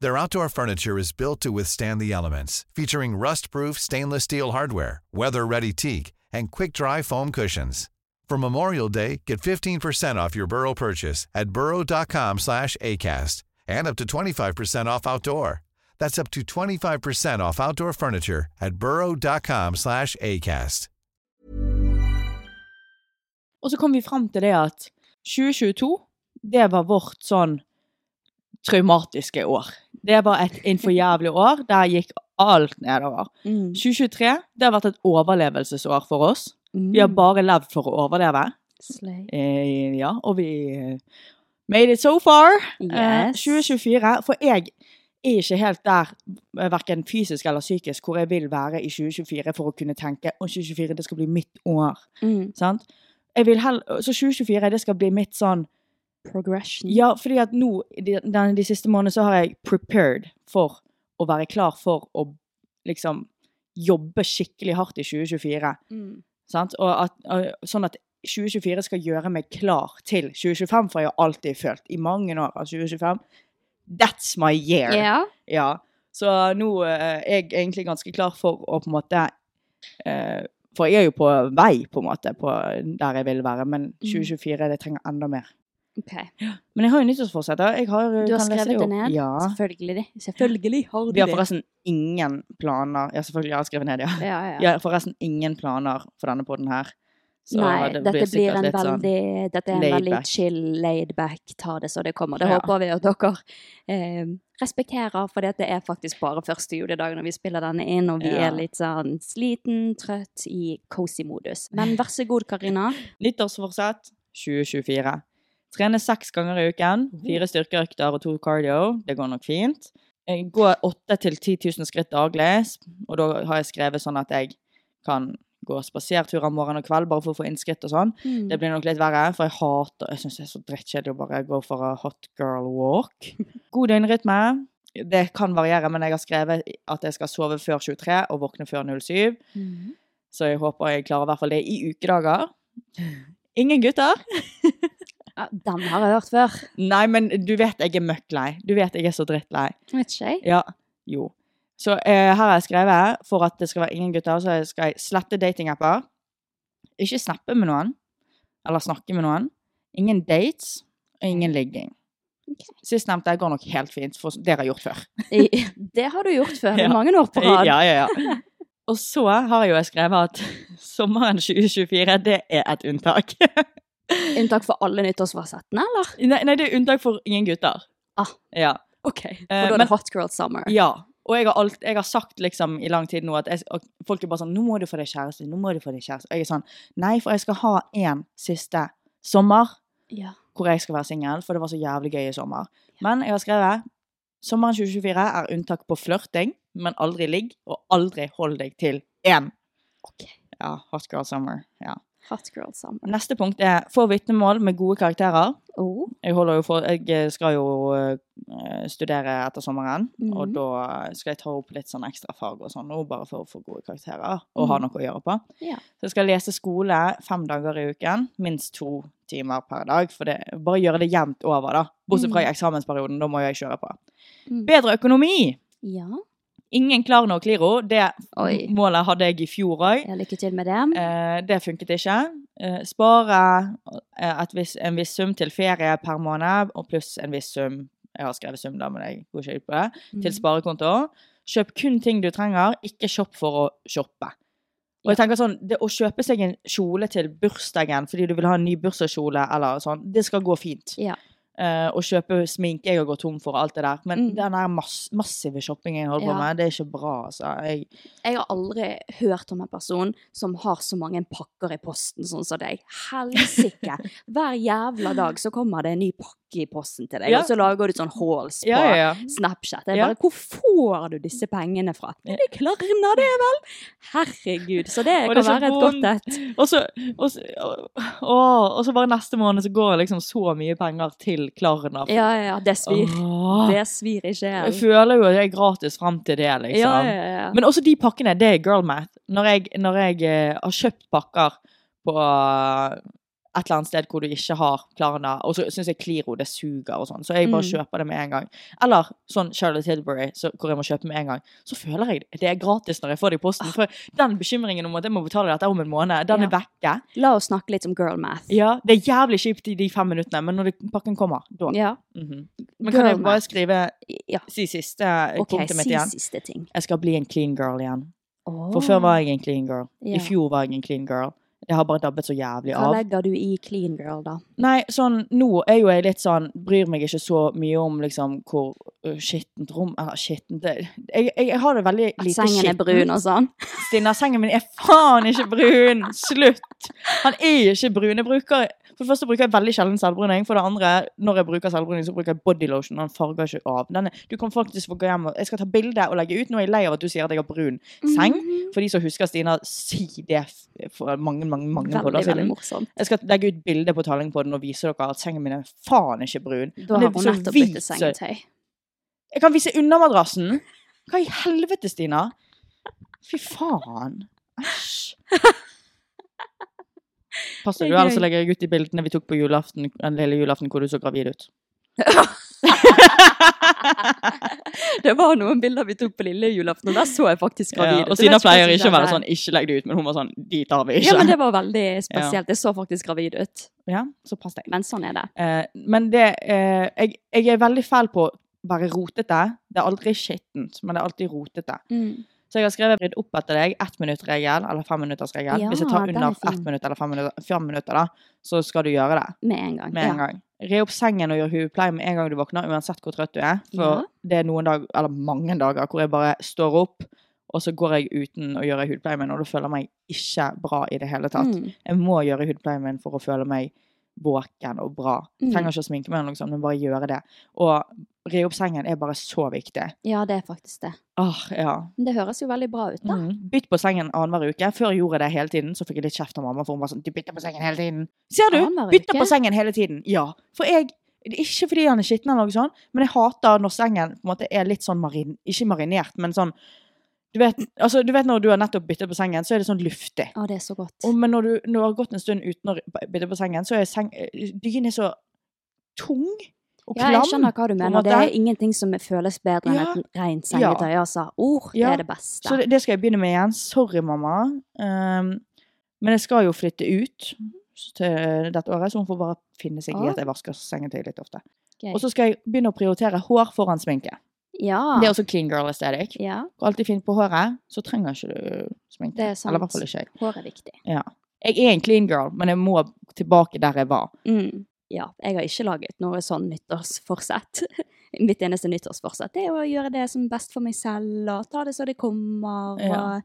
Their outdoor furniture is built to withstand the elements, featuring rust-proof stainless steel hardware, weather-ready teak, and quick-dry foam cushions. For Memorial Day, get 15% off your Burrow purchase at burrow.com/acast and up to 25% off outdoor. That's up to 25% off outdoor furniture at burrow.com/acast. Og så kom vi fram til det at 2022, det var vårt sånn traumatiske år. Det var et innenfor jævlig år. Der gikk alt nedover. Mm. 2023, det har vært et overlevelsesår for oss. Mm. Vi har bare levd for å overleve. Slay. Eh, ja, og vi eh, made it so far. Eh, Yes. 2024. For jeg er ikke helt der, eh, hverken fysisk eller psykisk, hvor jeg vil være i 2024 for å kunne tenke at 2024 det skal bli mitt år. Mm. Sant? Jeg vil hell så 2024 det skal bli mitt sånn Progression. Ja, fordi at nå, de, den- de siste månedene, så har jeg prepared for å være klar for å liksom jobbe skikkelig hardt i 2024. Mm. Sant? Og at, og, sånn at 2024 skal gjøre meg klar til 2025, for jeg har alltid følt i mange år at 2025 That's my year! Ja. Ja. Så nå eh, er jeg egentlig ganske klar for å på en måte eh, For jeg er jo på vei, på en måte, på der jeg vil være, Mm. men 2024 det trenger enda mer. OK. Men jeg har jo nyttårsforsett. da. Jeg har, eh, Du har kan lese skrevet det opp. ned? Ja. Selvfølgelig. Selvfølgelig har du Vi har det. forresten ingen planer Ja, selvfølgelig har jeg skrevet ned, ja. Ja, ja. Jeg har forresten ingen planer for denne podden her. Så Nei, det dette blir sikkert en litt sånn- veldig, dette er en laid veldig back. chill, laid back, ta det så det kommer. Det Ja. håper vi at dere eh, respekterer, for det er faktisk bare første juledag når vi spiller denne inn, og vi Ja. er litt sånn sliten, trøtt, i cozy modus. Men vær så god, Karina. Nyttårsforsett 2024. Trene seks ganger i uken. Fire styrkeøkter og to cardio. Det går nok fint. Eh, Gå 8 til 10 000 skritt daglig. Og da har jeg skrevet sånn at jeg kan gå spaserturer morgen og kveld bare for å få inn skritt og sånn. Mm. Det blir nok litt verre, for jeg hater Jeg syns det er så drittkjedelig å bare gå for a hot girl walk. God døgnrytme. Det kan variere, men jeg har skrevet at jeg skal sove før 23 og våkne før 07. Hmm. Så jeg håper jeg klarer i hvert fall det i ukedager. Ingen gutter. Ja, den har jeg hørt før. Nei, men du vet jeg er møkk lei. Du vet jeg er så drittlei. Vet ikke jeg. Ja, jo. Så eh, her har jeg skrevet, for at det skal være ingen gutter, så skal jeg slette datingapper. Ikke snappe med noen, eller snakke med noen. Ingen dates, og ingen ligging. Sistnevnte går nok helt fint, for det har jeg gjort før. I- Det har du gjort før, i Ja. mange år på rad. Ja, ja, ja. Og så har jeg jo skrevet at sommeren 2024, det er et unntak. Unntak for alle nyttårsforsettene, eller? nei, nei, det er unntak for ingen gutter. Ah. Ja. OK. For Eh, da er men- det hot girl summer. Ja. Og jeg har, alt, jeg har sagt liksom i lang tid nå at jeg, og folk er bare sånn 'Nå må du få deg kjæreste.' nå må du få deg kjæreste. Og jeg er sånn Nei, for jeg skal ha én siste sommer Ja. hvor jeg skal være singel, for det var så jævlig gøy i sommer. Men jeg har skrevet Sommeren 2024 er unntak på flørting, men aldri ligg, og aldri hold deg til én. OK. Ja, hot girl summer. Ja. Hot girl summer. Neste punkt er få vitnemål med gode karakterer. Oh. Jeg, holder jo for, jeg skal jo eh, studere etter sommeren, og Mhm. da skal jeg ta opp litt sånn ekstra fag og sånn nå, bare for å få gode karakterer og ha Mhm. noe å gjøre på. Ja. Så jeg skal lese skole fem dager i uken, minst to timer per dag, for det, bare gjøre det jevnt over, da. Bortsett fra i eksamensperioden, da må jeg kjøre på. Mhm. Bedre økonomi! Ja. Ingen Klarna og Kliro, det Oi. målet hadde jeg i fjor òg. Ja, lykke til med det. Eh, det funket ikke. Eh, spare eh, et viss, en viss sum til ferie per måned, og pluss en viss sum jeg har skrevet sum, da, men jeg går ikke ut på det. Til sparekonto. Kjøp kun ting du trenger, ikke shopp for å shoppe. Og jeg tenker sånn, det Å kjøpe seg en kjole til bursdagen fordi du vil ha en ny bursdagskjole, eller sånn, det skal gå fint. Ja. Eh, å kjøpe sminke jeg har gått tom for, og alt det der. Men Mm. den der mass massive shoppingen jeg holder Ja. på med, det er ikke bra, altså. Jeg, Jeg har aldri hørt om en person som har så mange [LAUGHS] pakker i posten sånn som deg. Helsike! Hver jævla dag så kommer det en ny pakke pakke i posten til deg, Ja. og så lager du sånn halls på Ja, ja, ja. Snapchat. Jeg Ja. bare, Hvor får du disse pengene fra? Men det klarner det vel! Herregud. Så det Og kan det er så være et vondt. godt et. Og så, og, så, å, og så bare neste måned så går det liksom så mye penger til Klarna. Ja, ja, ja. Det svir. Åh. Det svir i Jeg sjelen. føler jo at jeg er gratis frem til det, liksom. Ja, ja, ja. Men også de pakkene, det er girl math. Når jeg, når jeg eh, har kjøpt pakker på eh, et eller annet sted hvor du ikke har Klarna, og så syns jeg Kliro det suger og sånn, så jeg bare Mm. kjøper det med en gang. Eller sånn Charlotte Tilbury, så, hvor jeg må kjøpe med en gang. Så føler jeg det er gratis når jeg får det i posten. For den bekymringen om at jeg må betale dette om en måned, Ah. Ja. den er vekke. La oss snakke litt om girl math. Ja, det er jævlig kjipt i de fem minuttene, men når det, pakken kommer, da Ja. Mhm. Men kan jeg Girl bare math. skrive ja. si siste eh, OK, punktet mitt si igjen? siste ting. Jeg skal bli en clean girl igjen. For Åh. før var jeg en clean girl. Ja. I fjor var jeg en clean girl. Jeg har bare dabbet så jævlig Hva av. legger du i clean girl, da? Nei, sånn, nå er jo jeg litt sånn Bryr meg ikke så mye om liksom hvor uh, skittent rom Eller skittent det- jeg, jeg, jeg har det veldig At lite sengen er brun og [LAUGHS] sånn? Stina, sengen min er faen ikke brun! Slutt! Han er ikke brun. Jeg bruker, for det første bruker jeg veldig sjelden selvbruning. For det andre, når jeg bruker selvbruning, så bruker jeg bodylotion. og Den farger ikke av. Den er, du kan faktisk få gå hjem og Jeg skal ta bilde og legge ut. Nå er jeg lei av at du sier at jeg har brun seng. Mhm. For de som husker Stina, si det f- for mange, mange, mange Veldig, podder veldig siden. morsomt. Jeg skal legge ut bilde på talling på den og vise dere at sengen min er faen ikke brun. Da Den er har hun så nettopp hvit, byttet så- sengetøy. Jeg kan vise undermadrassen! Hva i helvete, Stina? Fy faen. Æsj. Pass Det deg, er du, ellers gøy. så legger jeg ut de bildene vi tok på julaften, den lille julaften hvor du så gravid [LAUGHS] ut. [LAUGHS] Det var noen bilder vi tok på lille julaften, og der så jeg faktisk gravid Ja, ut. og så det Stina skulle pleier faktisk ikke å være skjedd. sånn 'ikke legg det ut', men hun var sånn 'de tar vi Ja, men ikke'. det var veldig spesielt. Jeg så faktisk gravid ut. Ja, så pass deg. Men sånn er det. Eh, men det eh, jeg, jeg er veldig fæl på å være rotete. Det er aldri skittent, men det er alltid rotete. Så jeg har skrevet 'rydd opp etter deg', ett minutt-regel eller fem minutters-regel. Ja, Hvis jeg tar den under er fin. ett minutt eller fem minutter, fem minutter da, så skal du gjøre det Med en gang. med en gang. Re opp sengen og gjør hodepleie med en gang du våkner, uansett hvor trøtt du er. For Ja. det er noen dag, eller mange dager hvor jeg bare står opp, og så går jeg uten å gjøre hodepleien min, og da føler jeg meg ikke bra i det hele tatt. Mm. Jeg må gjøre hudpleien min for å føle meg våken og bra. Mm. Trenger ikke å sminke meg, eller noe sånt, men bare gjøre det. Og re opp sengen er bare så viktig. Ja. ja, det er faktisk det. Åh, ja. Men det høres jo veldig bra ut, da. Mm. Bytt på sengen annenhver uke. Før jeg gjorde det hele tiden, så fikk jeg litt kjeft av mamma, for hun var sånn Du bytter på sengen hele tiden! Ser du? Annenhver Bytter uke? på sengen hele tiden! Ja. For jeg det er Ikke fordi han er skitten, eller noe sånt, men jeg hater når sengen på en måte er litt sånn marin... Ikke marinert, men sånn du vet, altså, du vet når du har nettopp byttet på sengen, så er det sånn luftig. Å, det er så godt. Og, men når du, når du har gått en stund uten å bytte på sengen, så er seng, dynen er så tung og Ja, klam. jeg skjønner hva du på en mener. Det måte. er ingenting som føles bedre enn Ja. et rent sengetøy, altså. Ord det Ja. er det Så beste. det, det skal jeg begynne med igjen. Sorry, mamma. Um, men jeg skal jo flytte ut til eh, dette året, så hun får bare finne seg i Ah. at jeg vasker sengetøy litt ofte. Gøy. Og så skal jeg begynne å prioritere hår foran sminke. Ja. Det er også clean girl aesthetic. ja. Går alltid fint på håret, så trenger ikke du sminke. Det er sant. Eller i hvert fall ikke jeg. Hår er viktig. Ja. Jeg er en clean girl, men jeg må tilbake der jeg var. Mm. Ja, jeg har ikke laget noe sånn nyttårsforsett. [LAUGHS] Mitt eneste nyttårsforsett er å gjøre det som er best for meg selv, og ta det så det kommer, Ja. og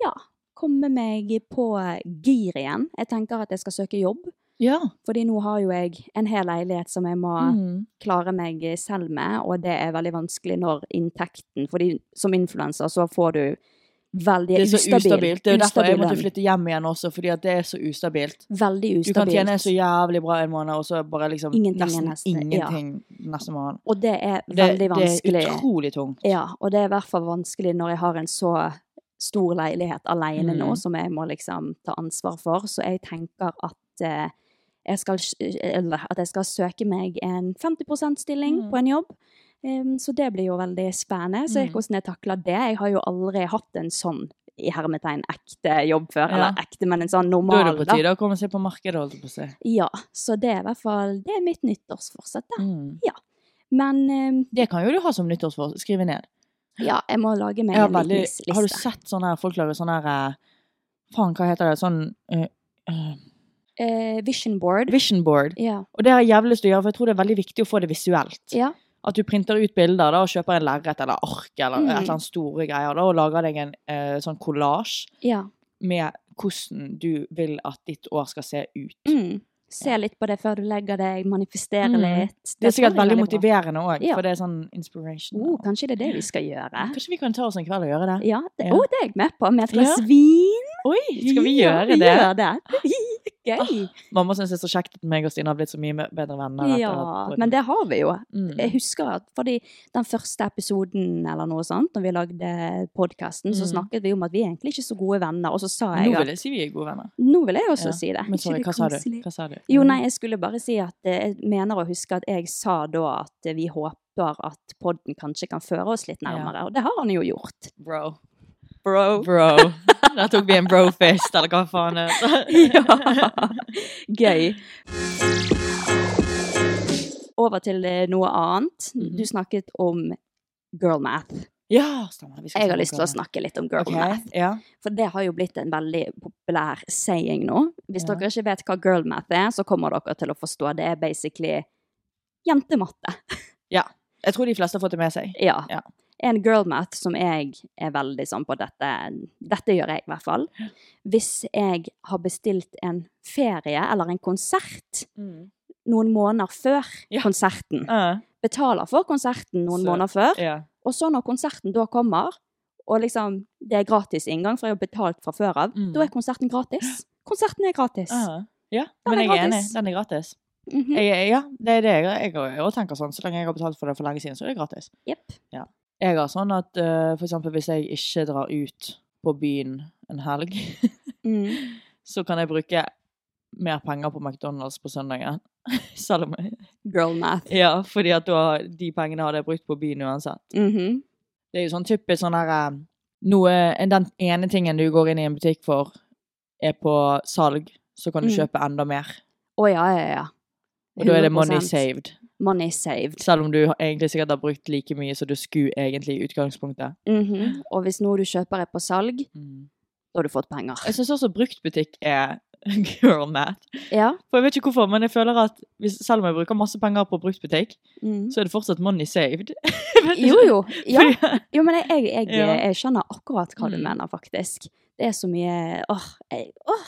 ja, komme meg på gir igjen. Jeg tenker at jeg skal søke jobb, Ja. fordi nå har jo jeg en hel leilighet som jeg må Mm. klare meg selv med, og det er veldig vanskelig når inntekten, fordi som influenser så får du veldig Det er så ustabilt. Det er jo derfor jeg ustabil måtte lønn. flytte hjem igjen også, fordi at det er så ustabilt. Veldig Du kan tjene ustabilt. så jævlig bra en måned, og så bare liksom Ingenting er nesten neste- ingenting neste måned. Og det er Det, veldig det vanskelig. er utrolig tungt. Ja, og det er i hvert fall vanskelig når jeg har en så stor leilighet alene nå, Mm. som jeg må liksom ta ansvar for. Så jeg tenker at eh, jeg skal, s- eller, at jeg skal søke meg en 50 %-stilling Mm. på en jobb. Em, så det blir jo veldig spennende. Så jeg, Mm. hvordan jeg takler det Jeg har jo aldri hatt en sånn i hermetegn ekte jobb før. Ja. Eller ekte, men en sånn Da er normal. det på da. tide å komme seg på markedet, holdt jeg på å si. Ja, så det er i hvert fall det er mitt nyttårsforsett. da. Mm. Men em, Det kan jo du ha som nyttårsforsett. Skrive ned. ja, jeg må lage meg Jeg har, en veldig, liten liste. har du sett sånne her, folk lager sånne her eh, Faen, hva heter det? Sånn eh, eh, Eh, vision board. Vision board. Ja. Og det har jeg jævlig lyst til å gjøre, for jeg tror det er veldig viktig å få det visuelt. Ja, At du printer ut bilder da, og kjøper en lerret eller ark eller Mm. et eller annet store greier da, og lager deg en eh, sånn kollasj ja. med hvordan du vil at ditt år skal se ut. Mm. Se litt på det før du legger deg, manifestere Mm. litt. Det er sikkert tror jeg veldig bra. motiverende òg, Ja. for det er sånn inspiration. Oh, kanskje det er det vi skal gjøre. Kanskje vi kan ta oss en kveld og gjøre det? Ja, det, Ja. oh, det er jeg med på. Med et glass Ja. vin. Oi, skal vi Ja, gjøre vi det? Ah. Gjør det. Gøy. Mamma syns det er så kjekt at meg og Stine har blitt så mye me- bedre venner. ja, men det har vi jo. Mm. Jeg husker at fordi den første episoden eller noe sånt, når vi lagde podkasten, så Mm. snakket vi om at vi er egentlig ikke så gode venner. Og så sa Nå jeg vil at jeg si vi er gode venner. Nå vil jeg også Ja. si det. Men sorry, Ikke hva det sa du? koselig? Hva sa du? Jo, nei, jeg skulle bare si at eh, jeg mener å huske at jeg sa da at eh, vi håper at podden kanskje kan føre oss litt nærmere, og det har han jo gjort. [LAUGHS] Bro. Bro. [LAUGHS] Bro. Der tok vi en brofist, eller hva faen det [LAUGHS] Ja. er. Gøy. Over til eh, noe annet. Mm-hmm. Du snakket om girl math. ja, stemmer. Jeg Vi skal snakke har om lyst til å det. snakke litt om girl Ok, math. Ja. For det har jo blitt en veldig populær saying nå. Hvis Ja. dere ikke vet hva girl math er, så kommer dere til å forstå. Det er basically jentematte. ja. Jeg tror de fleste har fått det med seg. Ja. Ja. En girl math som jeg er veldig sånn på dette Dette gjør jeg i hvert fall. Hvis jeg har bestilt en ferie eller en konsert noen måneder før Ja. konserten, Ja. betaler for konserten noen Så- måneder før, Ah, ja. og så når konserten da kommer, og liksom det er gratis inngang, for jeg har betalt fra før av, Mm. Ah. da er konserten gratis. Konserten er gratis. Ja. ja. Den Men er jeg er enig. gratis. Den er gratis. Mhm. Jeg, ja, det er det jeg, jeg, også tenker sånn. Så lenge jeg har betalt for det for lenge siden, så er det gratis. Jepp. Jeg har sånn at eh, for eksempel hvis jeg ikke drar ut på byen en helg, [LAUGHS] Mm. så kan jeg bruke mer penger på McDonald's på søndagen. [LAUGHS] Selv om Girl math. Ja, fordi at da, de pengene hadde jeg brukt på byen uansett. Mhm. Det er jo sånn typisk sånn her eh, noe, Den ene tingen du går inn i en butikk for, er på salg, så kan du Mm. kjøpe enda mer. Å ja, ja, ja. Og da er det money 100% saved. Money saved. Selv om du har- egentlig sikkert har brukt like mye som du skulle egentlig i utgangspunktet. Mhm. Og hvis noe du kjøper er på salg, da har du fått penger. Mm. Jeg syns også bruktbutikk er [LAUGHS] girl math. Ja. For jeg vet ikke hvorfor, men jeg føler at hvis, selv om jeg bruker masse penger på bruktbutikk, Mm. så er det fortsatt money saved. [LAUGHS] Jeg vet Jo, ikke. jo. Ja. [LAUGHS] Fordi- Jo, men jeg, jeg, jeg, Ja. jeg skjønner akkurat hva du Mm. mener, faktisk. Det er så mye Åh. jeg- åh.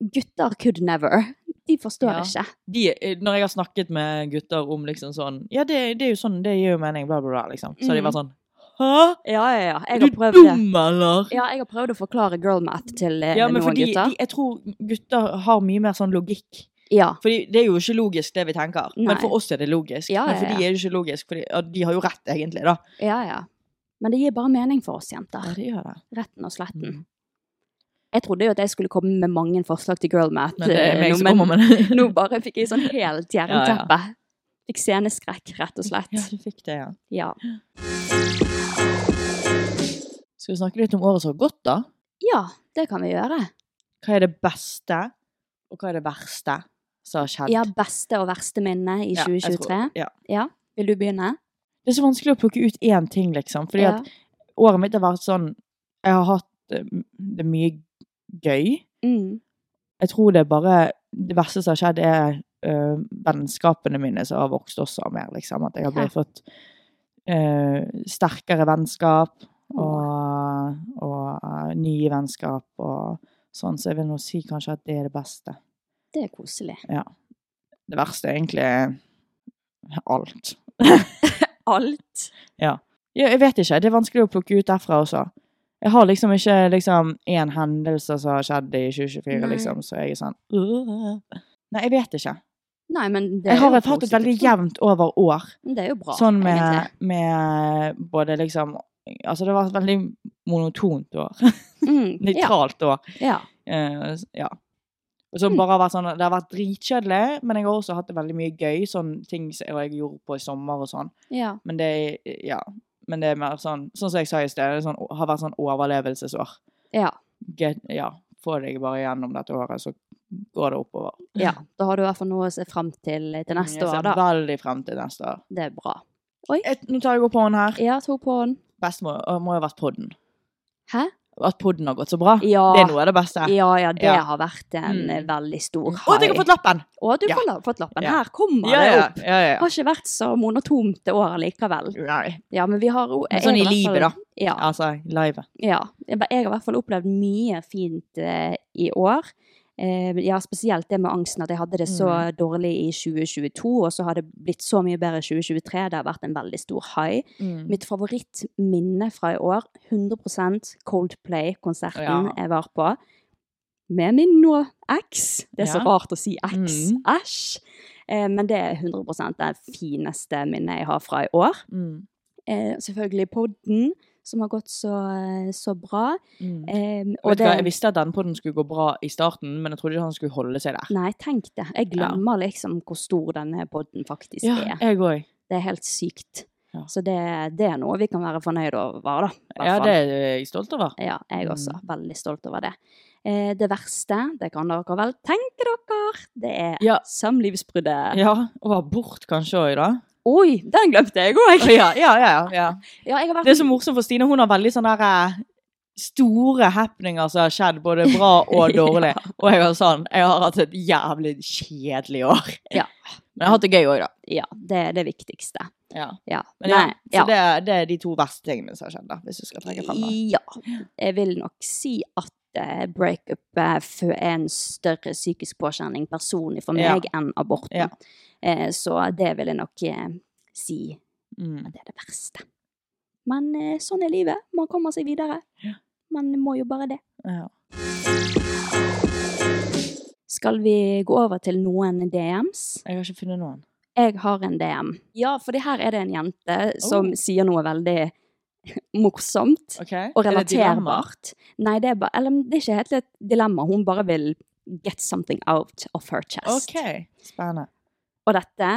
Gutter could never. De forstår Ja. ikke. De, eh, når jeg har snakket med gutter om liksom sånn Ja, det, det er jo sånn, det gir jo mening, bla, bla, bla, liksom. Så har de vært sånn Hæ? Ja, ja, ja. Er Mhm. Jeg du har prøvd det. dum, eller? Ja, jeg har prøvd å forklare girl math til eh, Ja, men noen fordi gutter. de, jeg tror gutter har mye mer sånn logikk. Ja. Fordi det er jo ikke logisk, det vi tenker. Men Nei. for oss er det logisk. Ja, men ja, for de ja. er det ikke logisk, for ja, de har jo rett, egentlig, da. ja, ja. Men det gir bare mening for oss jenter. de gjør det. Retten og sletten. Mm. Jeg trodde jo at jeg skulle komme med mange forslag til girl math. Men det eh, er meg nå, som men- kommer med [LAUGHS] det. Nå bare fikk jeg sånn helt jernteppe. Fikk sceneskrekk, rett og [LAUGHS] Ja, slett. du fikk det, ja. Ja. Skal vi snakke litt om året som har gått, da? ja, det kan vi gjøre. Hva er det beste, og hva er det verste som har skjedd? Ja, beste og verste minne i Ja, jeg 2023. tror- Ja. Ja, vil du begynne? Det er så vanskelig å plukke ut én ting, liksom. Fordi Ja. at året mitt har vært sånn Jeg har hatt eh, det mye gøy. Mm. Jeg tror det er bare Det verste som har skjedd, er eh, vennskapene mine som har vokst også mer, liksom. At jeg har Ja. blitt fått eh, sterkere vennskap og, og eh, nye vennskap og sånn. Så jeg vil nå si kanskje at det er det beste. Det er koselig. Det verste er egentlig eh, alt. Alt. Ja, jeg vet ikke. Det er vanskelig å plukke ut derfra også. Jeg har liksom ikke liksom én hendelse som har skjedd i 2024, Nei. liksom, så jeg er sånn «Åh». Nei, jeg vet ikke. Nei, men det er Jeg har jo et- hatt et veldig positivt. jevnt over år. Men Det er jo bra, Sånn med, egentlig. med både liksom Altså, det var et veldig monotont år. [LAUGHS] Mm, ja, Nøytralt år. ja. Eh, ja. Og så Mm. bare har vært sånn, Det har vært dritkjedelig, men jeg har også hatt det veldig mye gøy. Sånn ting som jeg gjorde på i sommer og sånn. ja. Men det, er- ja. Men det er mer sånn Sånn som jeg sa i sted, det er sånn, har vært sånn overlevelsesår. Ja. Get, ja. Få deg bare gjennom dette året, så går det oppover. Ja. Da har du i hvert fall noe å se fram til til neste jeg ser år, da. Veldig frem til neste år. Det er bra. Et, nå tar jeg opp hånden her. Ja, to på den. Best må, å, må jo ha vært podden. Hæ? At podden har gått så bra. Ja. Det er noe av det beste. Ja, ja, det Ja. har vært en Mm. eh, veldig stor Å, high. at jeg har fått lappen! Å, du Ja. har la- fått lappen. Ja. Her kommer Ja, det ja, opp. ja, ja. Har ikke vært så monotont det året likevel. Nei. Ja, men vi har jo- Men jeg sånn i har hvert livet, fall- da. Ja. Altså, live. Ja. Jeg ba- jeg har i hvert fall opplevd mye fint eh, i år. Eh, ja, spesielt det med angsten, at jeg hadde det så Mm. dårlig i 2022, og så har det blitt så mye bedre i 2023. Det har vært en veldig stor high. Mitt favorittminne fra i år, 100 Coldplay-konserten Ja. jeg var på, med min nå eks. Det er Ja. så rart å si eks. Mm. Æsj! Eh, men det er 100 det fineste minnet jeg har fra i år. Mm. Eh, selvfølgelig podden, som har gått så, så bra. Mm. Eh, Vet du hva, jeg visste at denne podden skulle gå bra i starten, men jeg trodde ikke han skulle holde seg der. Nei, tenk det. Jeg glemmer liksom hvor stor denne podden faktisk Ja, er. jeg òg. Det er helt sykt. Ja. Så det, det er noe vi kan være fornøyd over, da. i hvert Ja, fall. det er jeg stolt over. Ja, jeg også. Mm. Veldig stolt over det. Eh, det verste, det kan dere vel tenke dere, det er Ja. samlivsbruddet. Ja, Og abort kanskje òg, da. Oi, den glemte jeg òg! Ja, ja, ja, ja. Ja, jeg har vært Det er så morsomt for Stine. Hun har veldig sånne der, eh, store happeninger som har skjedd, både [LAUGHS] bra og dårlig. Og jeg har sånn Jeg har hatt et jævlig kjedelig år. Ja. [LAUGHS] Men jeg har hatt det gøy òg, da. Ja, det er det viktigste. Ja. Ja. Men ja, Nei, så Det, det er de to verste tingene som har skjedd, da, hvis du skal trekke frem det. Ja. Jeg vil nok si at eh, breakup eh, fø- er en større psykisk påkjenning personlig for Ja. meg enn aborten. Ja. Eh, så det vil jeg nok eh, si at det er det verste. Men eh, sånn er livet. Man kommer seg videre. Man må jo bare det. Ja. Skal vi gå over til noen DMs? Jeg har ikke funnet noen. Jeg har en DM. Ja, for her er det en jente som Oh. sier noe veldig [LAUGHS] morsomt Ok? og Er det dilemma? relaterbart. Nei, det er, ba, eller, det er ikke helt et dilemma. Hun bare vil get something out of her chest. OK. Spennende. Og dette,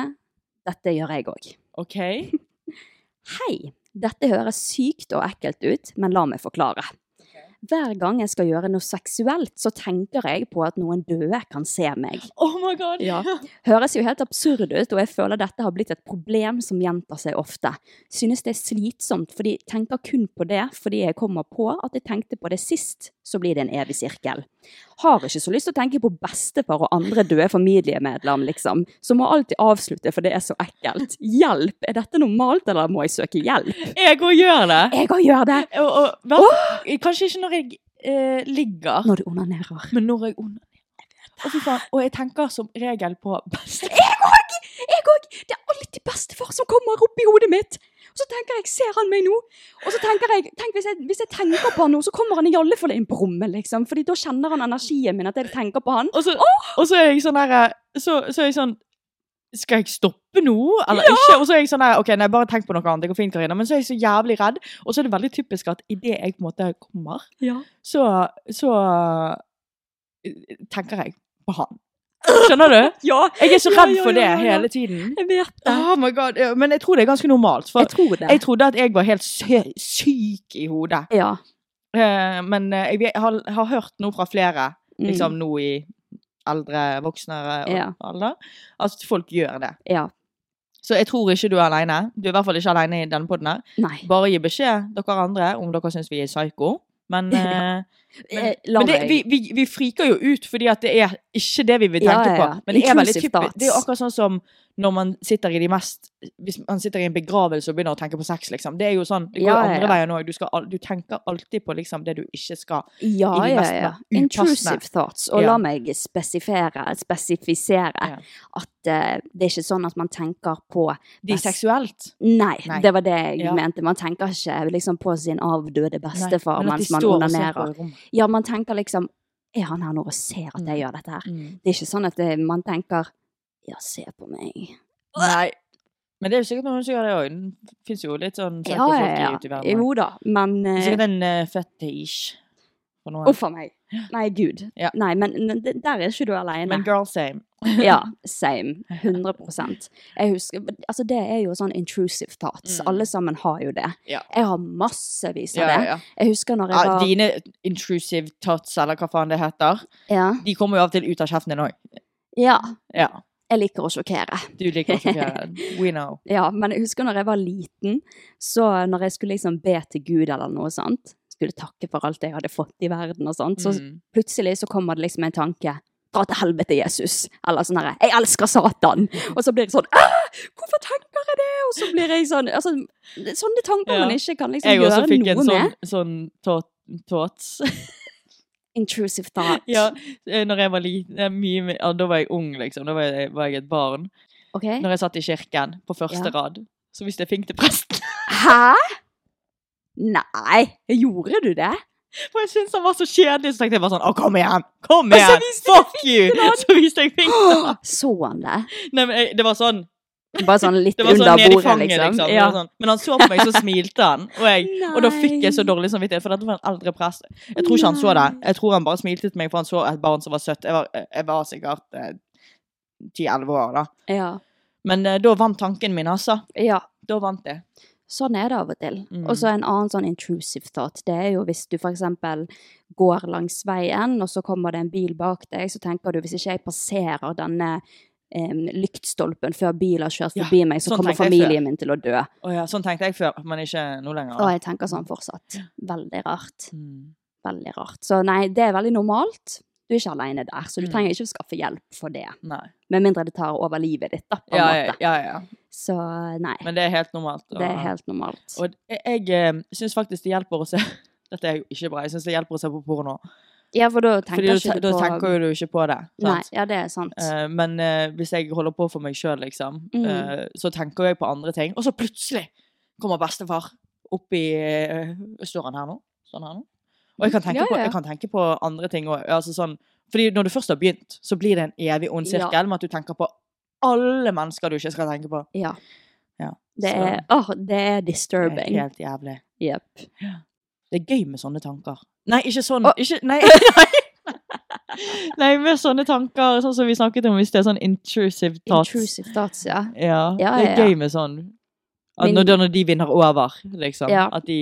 dette gjør jeg òg. [LAUGHS] OK. Hei, dette høres sykt og ekkelt ut, men la meg forklare. Hver gang jeg skal gjøre noe seksuelt, så tenker jeg på at noen døde kan se meg. Oh my god! Ja. Høres jo helt absurd ut, og jeg føler dette har blitt et problem som gjentar seg ofte. Synes det er slitsomt, fordi jeg tenker kun på det fordi jeg kommer på at jeg tenkte på det sist, så blir det en evig sirkel. Har ikke så lyst til å tenke på bestefar og andre døde familiemedlem, liksom. Så må alltid avslutte, for det er så ekkelt. Hjelp! Er dette normalt, eller må jeg søke hjelp? Jeg òg gjør det. Jeg òg gjør det! Og, og, vær- Kanskje ikke når jeg eh, ligger, Når du onanerer. men når jeg onanerer. Å, fy faen. Og jeg tenker som regel på beste Jeg òg! Jeg òg! Det er alltid bestefar som kommer opp i hodet mitt. Og så tenker jeg, ser han meg nå? Og så tenker jeg, tenk hvis jeg, hvis jeg tenker på han nå, så kommer han i alle fall inn på rommet, liksom. Fordi da kjenner han energien min, at jeg tenker på han. [LAUGHS] Og så, og så er jeg sånn der så, så er jeg sånn Skal jeg stoppe nå, eller ikke? Og så er jeg sånn der OK, nei, bare tenk på noe annet. Det går fint, Karina. Men så er jeg så jævlig redd. Og så er det veldig typisk at idet jeg på en måte kommer, Ja. så, så eh, tenker jeg på han. Skjønner du? Ja, Jeg er [LAUGHS] så redd ja, for det ja, ja. hele tiden. jeg vet det. Oh my god. ja, Men jeg tror det er ganske normalt. For Jeg tror det. jeg trodde at jeg var helt sy- syk i hodet. Ja. Eh, Men eh, jeg vet- har, har hørt noe fra flere Mm. liksom nå i eldre voksnere og Ja. alder. Altså, folk gjør det. Ja. Så jeg tror ikke du er alene. Du er i hvert fall ikke alene i denne podden her. Nei. Bare gi beskjed, dere andre, om dere syns vi er psyko. [LAUGHS] Men, eh, men, Eh, La men det, meg. vi, vi, vi friker jo ut fordi at det er ikke det vi vil Ja, tenke ja, ja. på. Men det er veldig Intrusive typisk. thoughts. Det er jo akkurat sånn som når man sitter i de mest Hvis man sitter i en begravelse og begynner å tenke på sex, liksom. Det er jo sånn, det går jo Ja, ja, ja. andre veien òg. Du, skal al- du tenker alltid på liksom det du ikke skal. ja, i de ja, mest ja. upassende. Intrusive thoughts. Og Ja. la meg spesifere, spesifisere Ja. at eh, det er ikke sånn at man tenker på De best- seksuelt. Nei, Nei. det var det jeg Ja. mente. Man tenker ikke liksom, på sin avdøde Nei, bestefar men at de mens man står og ser onanerer. på i rommet. Ja, man tenker liksom Er han her nå og ser at Mm. jeg gjør dette her? Det er ikke sånn at det, man tenker Ja, se på meg. Nei. Men det er jo sikkert noen som gjør det òg. Det fins jo litt sånn Ja, psykofolk ja, ja. ute i verden. Jo da, men Det er eh, Sikkert en uh, fetisj for noen. Uff a meg. Nei, gud. Ja. Nei, men n- d- der er ikke du aleine. Men girl same. [LAUGHS] Ja, same. 100 Jeg husker, altså Det er jo sånn intrusive thoughts. Alle sammen har jo det. Mm. Ja. Jeg har massevis av Ja, det. ja. Jeg husker når jeg Ja, var dine intrusive tots, eller hva faen det heter, ja, de kommer jo av og til ut av kjeften din òg. ja, Ja. jeg liker å sjokkere. Du liker [LAUGHS] også å gjøre det. We know. Ja, men jeg husker når jeg var liten, så når jeg skulle liksom be til Gud eller noe sånt, skulle takke for alt jeg hadde fått i verden og sånt, så Mm. plutselig så kommer det liksom en tanke, dra til helvete Jesus, eller sånn her, jeg elsker Satan, og så blir jeg sånn, «Æ, hvorfor tenker jeg det? Og så blir jeg sånn, altså, sånne tanker Ja. man ikke kan liksom Jeg også sånn gjøre fikk en noe sånn, med. sånn tot, tots. Intrusive thought. [LAUGHS] Ja, eh, når jeg var liten, eh, mye, mer- ja, da var jeg ung, liksom. Da var jeg, var jeg et barn. OK? Når jeg satt i kirken på første Ja. rad, så hvis jeg fink til presten [LAUGHS] Hæ? Nei, gjorde du det? For jeg syntes han var så kjedelig, så tenkte jeg bare sånn Å, kom igjen! Kom Og [LAUGHS] så igjen! viste jeg Fuck you! Så viste jeg fink til han. Så han Sånn det? Nei, men jeg, det var sånn Bare sånn litt Det var sånn under nede i bordet, fanget, liksom. liksom. Det Ja. var Sånn. Men han så på meg, så smilte han. Og, jeg, [LAUGHS] og da fikk jeg så Nei. dårlig samvittighet, for dette var en eldre prest. Jeg tror ikke han så det. Nei. Jeg tror han bare smilte til meg, for han så et barn som var søtt. Jeg var, jeg var sikkert eh, 10-11 år, da. Ja. Men eh, da vant tanken min, altså. ja. Da vant jeg. Sånn er det av og til. Mm. Og så en annen sånn intrusive thought, det er jo hvis du for eksempel går langs veien, og så kommer det en bil bak deg, så tenker du hvis ikke jeg passerer denne em, lyktstolpen før bilen har kjørt Ja, forbi meg, så sånn kommer tenkte jeg før. familien min til å dø. Å ja, sånn tenkte jeg før, men ikke nå lenger. Og da. jeg tenker sånn fortsatt. Veldig rart. Mm. Veldig rart. Så nei, det er veldig normalt. Du er ikke alene der, så du Mm. trenger ikke å skaffe hjelp for det. Nei. Med mindre det tar over livet ditt, da, på en Ja, ja, måte. ja, ja. Så nei, Men det er helt normalt. og- det er helt normalt. Og jeg, jeg eh, syns faktisk det hjelper å se [LAUGHS] Dette er jo ikke bra. Jeg syns det hjelper å se på porno. Ja, for da Fordi tenker da, ikke da du på tenker jo du ikke på det. Nei, Sant? ja, det er sant. Eh, men eh, hvis jeg holder på for meg sjøl, liksom, Mm. eh, så tenker jeg på andre ting. Og så plutselig kommer bestefar oppi uh, Står han her nå? Står han her nå? Og jeg kan tenke, Ja, På, ja. jeg kan tenke på andre ting òg. Altså sånn, fordi når du først har begynt, så blir det en evig ond Ja. sirkel med at du tenker på alle mennesker du ikke skal tenke på. Ja. Ja, Det så- er, åh, det er Det er disturbing. Helt jævlig. Jepp. Det er gøy med sånne tanker. Nei, ikke sånn. Å. Ikke, nei, nei. [LAUGHS] nei, med sånne tanker, sånn som vi snakket om hvis det er sånn intrusive thoughts. Intrusive thoughts, ja. Ja, Ja, det ja, ja. er gøy med sånn. At Min- når, når de vinner over, liksom. Ja. At de,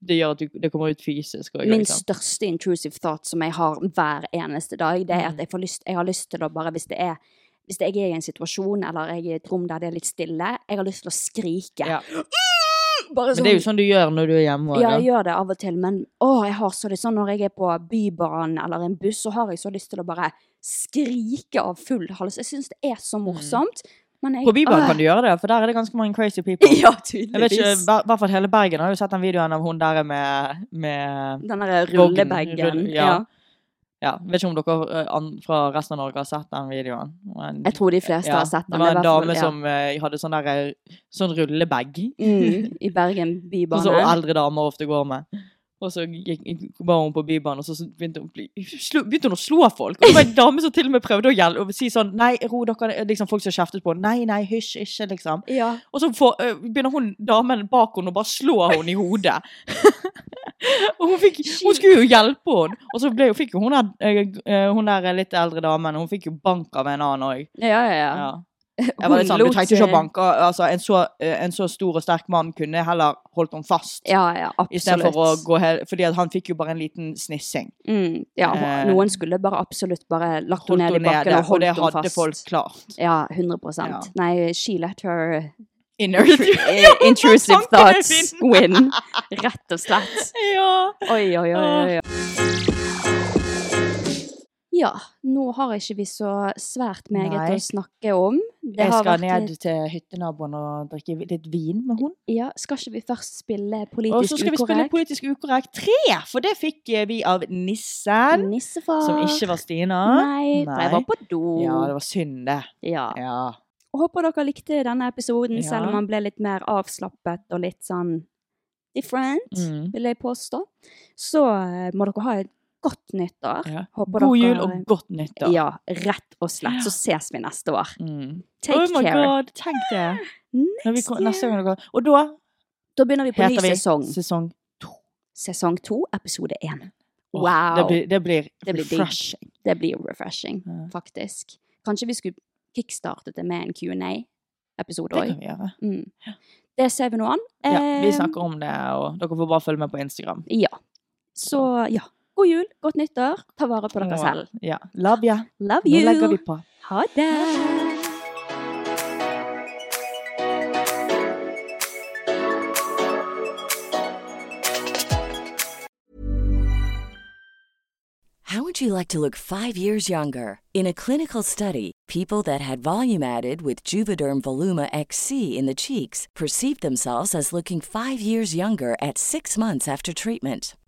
det gjør at du, det kommer ut fysisk. Og, Min liksom. største intrusive thought som jeg har hver eneste dag, det er at Mm. jeg, får lyst, jeg har lyst til å bare, hvis det er hvis jeg er i en situasjon, eller jeg er i et rom der det er litt stille, jeg har lyst til å skrike. Ja. [LAUGHS] Bare Men det er jo sånn du gjør når du er hjemme. Ja, også, jeg gjør det av og til, men å, jeg har så lyst sånn når jeg er på Bybanen eller en buss, så har jeg så lyst til å bare skrike av full hals. Jeg syns det er så morsomt. Men jeg, da. Mm. På Bybanen kan du gjøre det, for der er det ganske mange crazy people. Ah. [LAUGHS] Ja, Jeg vet ikke, tydeligvis. hver- hvert fall hele Bergen har jo sett den videoen av hun der med, med Den derre Vogn, rullebagen. rull- ja. Ja. Ja, vet ikke om dere eh, an- fra resten av Norge har sett den videoen. Men, Jeg tror de fleste har sett den. Det var i en hvert fall, dame ja. som eh, hadde sånn der eh, sånn rullebag. mm, I [LAUGHS] Bergen Sånn som bybane. eldre damer ofte går med. Og så gikk, gikk- var hun på Bybanen, og så så begynte hun, å bli, slo, begynte hun å slå folk. Og det var en dame som til og med prøvde å gjelde, og si sånn Nei, ro dere ned», liksom Folk som kjeftet på henne. Nei, nei, hysj, ikke, liksom. Ja. Og så får, eh, begynner hun damen bak henne og bare slår henne i hodet. [LAUGHS] og hun, fikk, hun skulle jo hjelpe henne. Og så ble, fikk jo hun der, eh, eh, hun der litt eldre damen hun fikk jo bank av en annen òg. Ja, ja, ja. Ja. Jeg var litt Hun sånn, du lot trengte seg- ikke å banke. Altså, en, så, eh, en så stor og sterk mann kunne heller holdt henne fast. Ja, ja, I stedet absolutt. for å gå helt, fordi at han fikk jo bare en liten snissing. mm, ja, Eh, noen skulle bare absolutt bare lagt Holdt henne ned i henne bakken nede, og holdt det henne hadde fast. folk klart. Ja, 100 Ja. Nei, she let [LAUGHS] her Inner- [LAUGHS] Eh, intrusive tanken er thoughts win. Rett og slett. Ja. Oi, oi, oi. oi, oi. Ja, nå har ikke vi så svært meget Nei. å snakke om. Det Jeg har skal vært ned litt- til hyttenaboen og drikke litt vin med hun. Ja, skal ikke vi først spille Og politisk så skal vi spille ukorrekt? Politisk ukorrekt 3, for det fikk eh, vi av nissen. Nissefar. Som ikke var Stina. Nei, for jeg var på do. Ja, det var synd, det. Ja. Ja. Håper dere likte denne episoden, selv Ja. om han ble litt mer avslappet og litt sånn different, Mm. vil jeg påstå. Så eh, må dere ha et godt nyttår. Ja. Håper God dere- jul og godt nyttår. Ja, rett og slett. Så ses vi neste år. Mm. Take oh my care. god, tenk det. Når vi Next kom, year. neste gang det går. Og da Da begynner vi på ny heter vi sesong. sesong Sesong to, episode én. Åh, Wow. Det blir, det blir Det blir digg. refreshing. Det blir refreshing, Ja. faktisk. Kanskje vi skulle kickstartet det med en Q&A-episode Det òg. kan vi gjøre. Mm. Det ser vi nå an. Ja, vi Eh, snakker om det, og dere får bare følge med på Instagram. Ja. Så ja. God jul, godt nyttår. Ta vare på dere Og- selv. Ja. Love ya. Love Nå legger vi you. på. Ha det. How would you like to look five years younger? In a clinical study, people that had volume added with Juvederm Voluma XC in the cheeks perceived themselves as looking five years younger at six months after treatment.